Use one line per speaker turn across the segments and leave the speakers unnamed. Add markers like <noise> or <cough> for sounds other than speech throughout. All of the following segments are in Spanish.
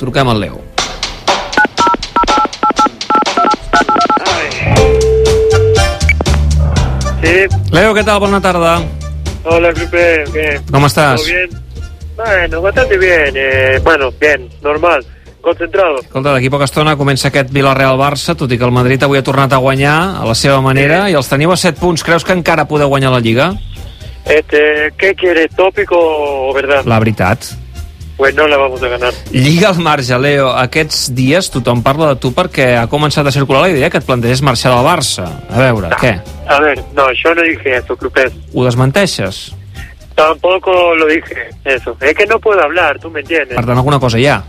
Truquem al Leo.
Sí,
Leo, què tal? Bona tarda.
hola Lupe, bien.
Com estàs?
¿Todo bien? Bueno, bastante bien. eh, bueno, bien, normal, concentrado.
Escolta, d'aquí poca estona comença aquest Villarreal-Barça, tot i que el Madrid avui ha tornat a guanyar a la seva manera i els teniu a 7 punts. Creus que encara podeu guanyar la Lliga?
Este, ¿Qué quieres, tópico o verdad?
La veritat.
Pues no la vamos a ganar.
Lliga al marge, Leo. Aquests dies tothom parla de tu perquè ha començat a circular la idea que et plantegés marxar del Barça. A veure, què?
A ver, no, yo no dije eso, Lupe.
Ho desmenteixes?
Tampoco lo dije eso. Es que no puedo hablar, tú me entiendes.
Per tant, alguna cosa hi ha.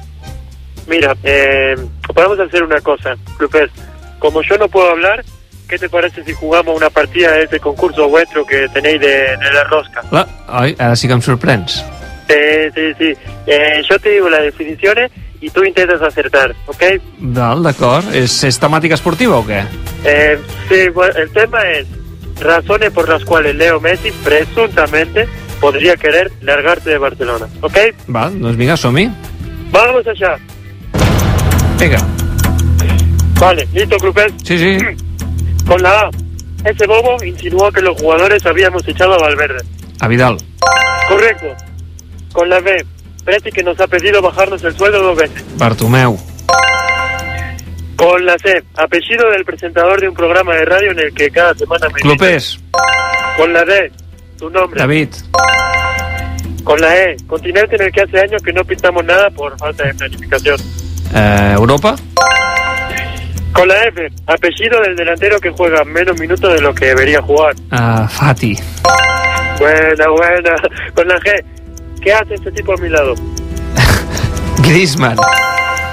Mira, eh, podemos hacer una cosa, Lupez. Como yo no puedo hablar, ¿qué te parece si jugamos una partida de ese concurso vuestro que tenéis de, de la rosca?
La... Ai, ara sí que em sorprens.
Eh, sí, sí. Eh, yo te digo las definiciones y tú intentas acertar, ¿ok?
Val, d'acord. És, és temàtica esportiva o què?
Eh, sí, bueno, el tema es razones por las cuales Leo Messi presuntamente podría querer largarse de Barcelona, ¿ok?
Val, doncs vinga, som-hi.
Vamos allá.
Vinga.
Vale, listo, Lupez.
Sí, sí.
Con la A. Ese bobo insinuó que los jugadores habíamos echado a Valverde.
A Vidal.
Correcto. Con la B. Presti que nos ha pedido bajarnos el sueldo dos veces.
Bartomeu.
Con la C. Apellido del presentador de un programa de radio en el que cada semana me...
Clopés.
invitan. Con la D. Tu nombre.
David.
Con la E. Continente en el que hace años que no pintamos nada por falta de planificación.
Eh, Europa.
Con la F. Apellido del delantero que juega menos minutos de lo que debería jugar.
Eh, Fati.
Buena, buena. <laughs> Con la G. ¿Qué hace este tipo a mi lado?
Griezmann.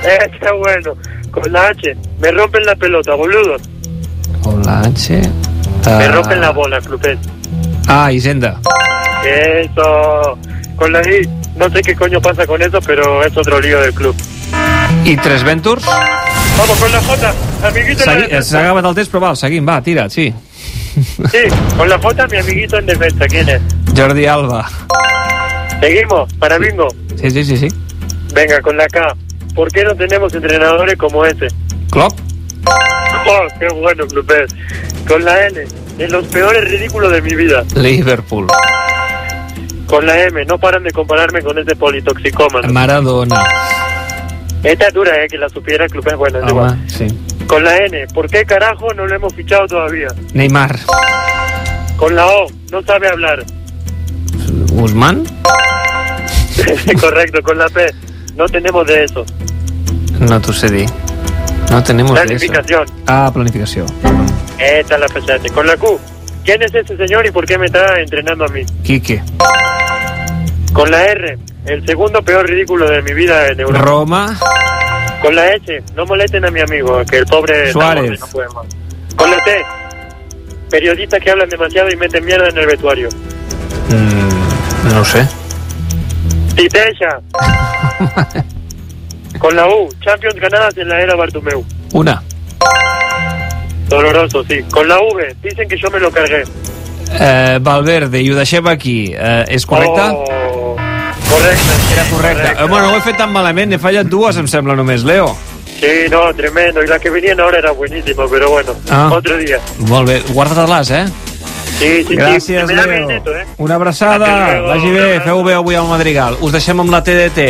Está bueno. Con la H. Me rompen la pelota, boludo.
Con la H. Eh,
Me rompen la bola, Clupés.
Ah, Hisenda.
Eso. Con la I, no sé qué coño pasa con eso, pero es otro lío del club.
I Tres Ventures.
Vamos con la J, amiguito en la
Segui- eh, S'ha
defensa.
acabat el temps, però val, seguim, va, tira, sí.
Sí, con la J, mi amiguito en defensa. ¿Quién es?
Jordi Alba.
Seguimos, para bingo.
Sí, sí, sí, sí.
Venga, con la K. ¿Por qué no tenemos entrenadores como ese? <laughs>
Klopp.
Oh, qué bueno, Clupés. Con la N, de los peores ridículos de mi vida.
Liverpool.
Con la M, no paran de compararme con ese politoxicómano.
Maradona.
Esta es dura, eh, que la supiera Clupés. Bueno, es igual.
Home, sí.
Con la N, ¿por qué carajo no lo hemos fichado todavía?
Neymar.
Con la O, no sabe hablar. <laughs>
Guzmán.
Correcto, con la P. No tenemos de eso.
No t'ho sé dir. No tenemos de eso.
Planificación.
Ah, planificación.
Esta es la presente. Con la Q. ¿Quién es ese señor y por qué me está entrenando a mí?
Quique.
Con la R. El segundo peor ridículo de mi vida en Europa.
Roma.
Con la S. No molesten a mi amigo, que el pobre
Suárez.
está bueno, no puede más. Con la T. Periodistas que hablan demasiado y meten mierda en el vestuario.
Mm, no ho sé. <laughs>
Titella. Con la U. Champions ganadas en la era Bartomeu.
Una.
Doloroso, sí. Con la V. Dicen que yo me lo cargué.
Eh, Valverde, i ho deixem aquí. Eh, és correcte?
Oh, correcte. Era
Correcte. Eh, bueno, ho he fet tan malament, he fallat dues, em sembla, només, Leo.
Sí, no, tremendo. Y la que venían ahora era buenísima, pero bueno,
Ah.
otro día.
Molt bé, guarda-te-les, eh?
Sí, sí, sí.
Gràcies,
Me da bien
Leo.
esto, ¿eh?
Una abraçada,
Hasta luego.
vagi bé, feu bé avui al Madrigal. Us deixem amb la TDT.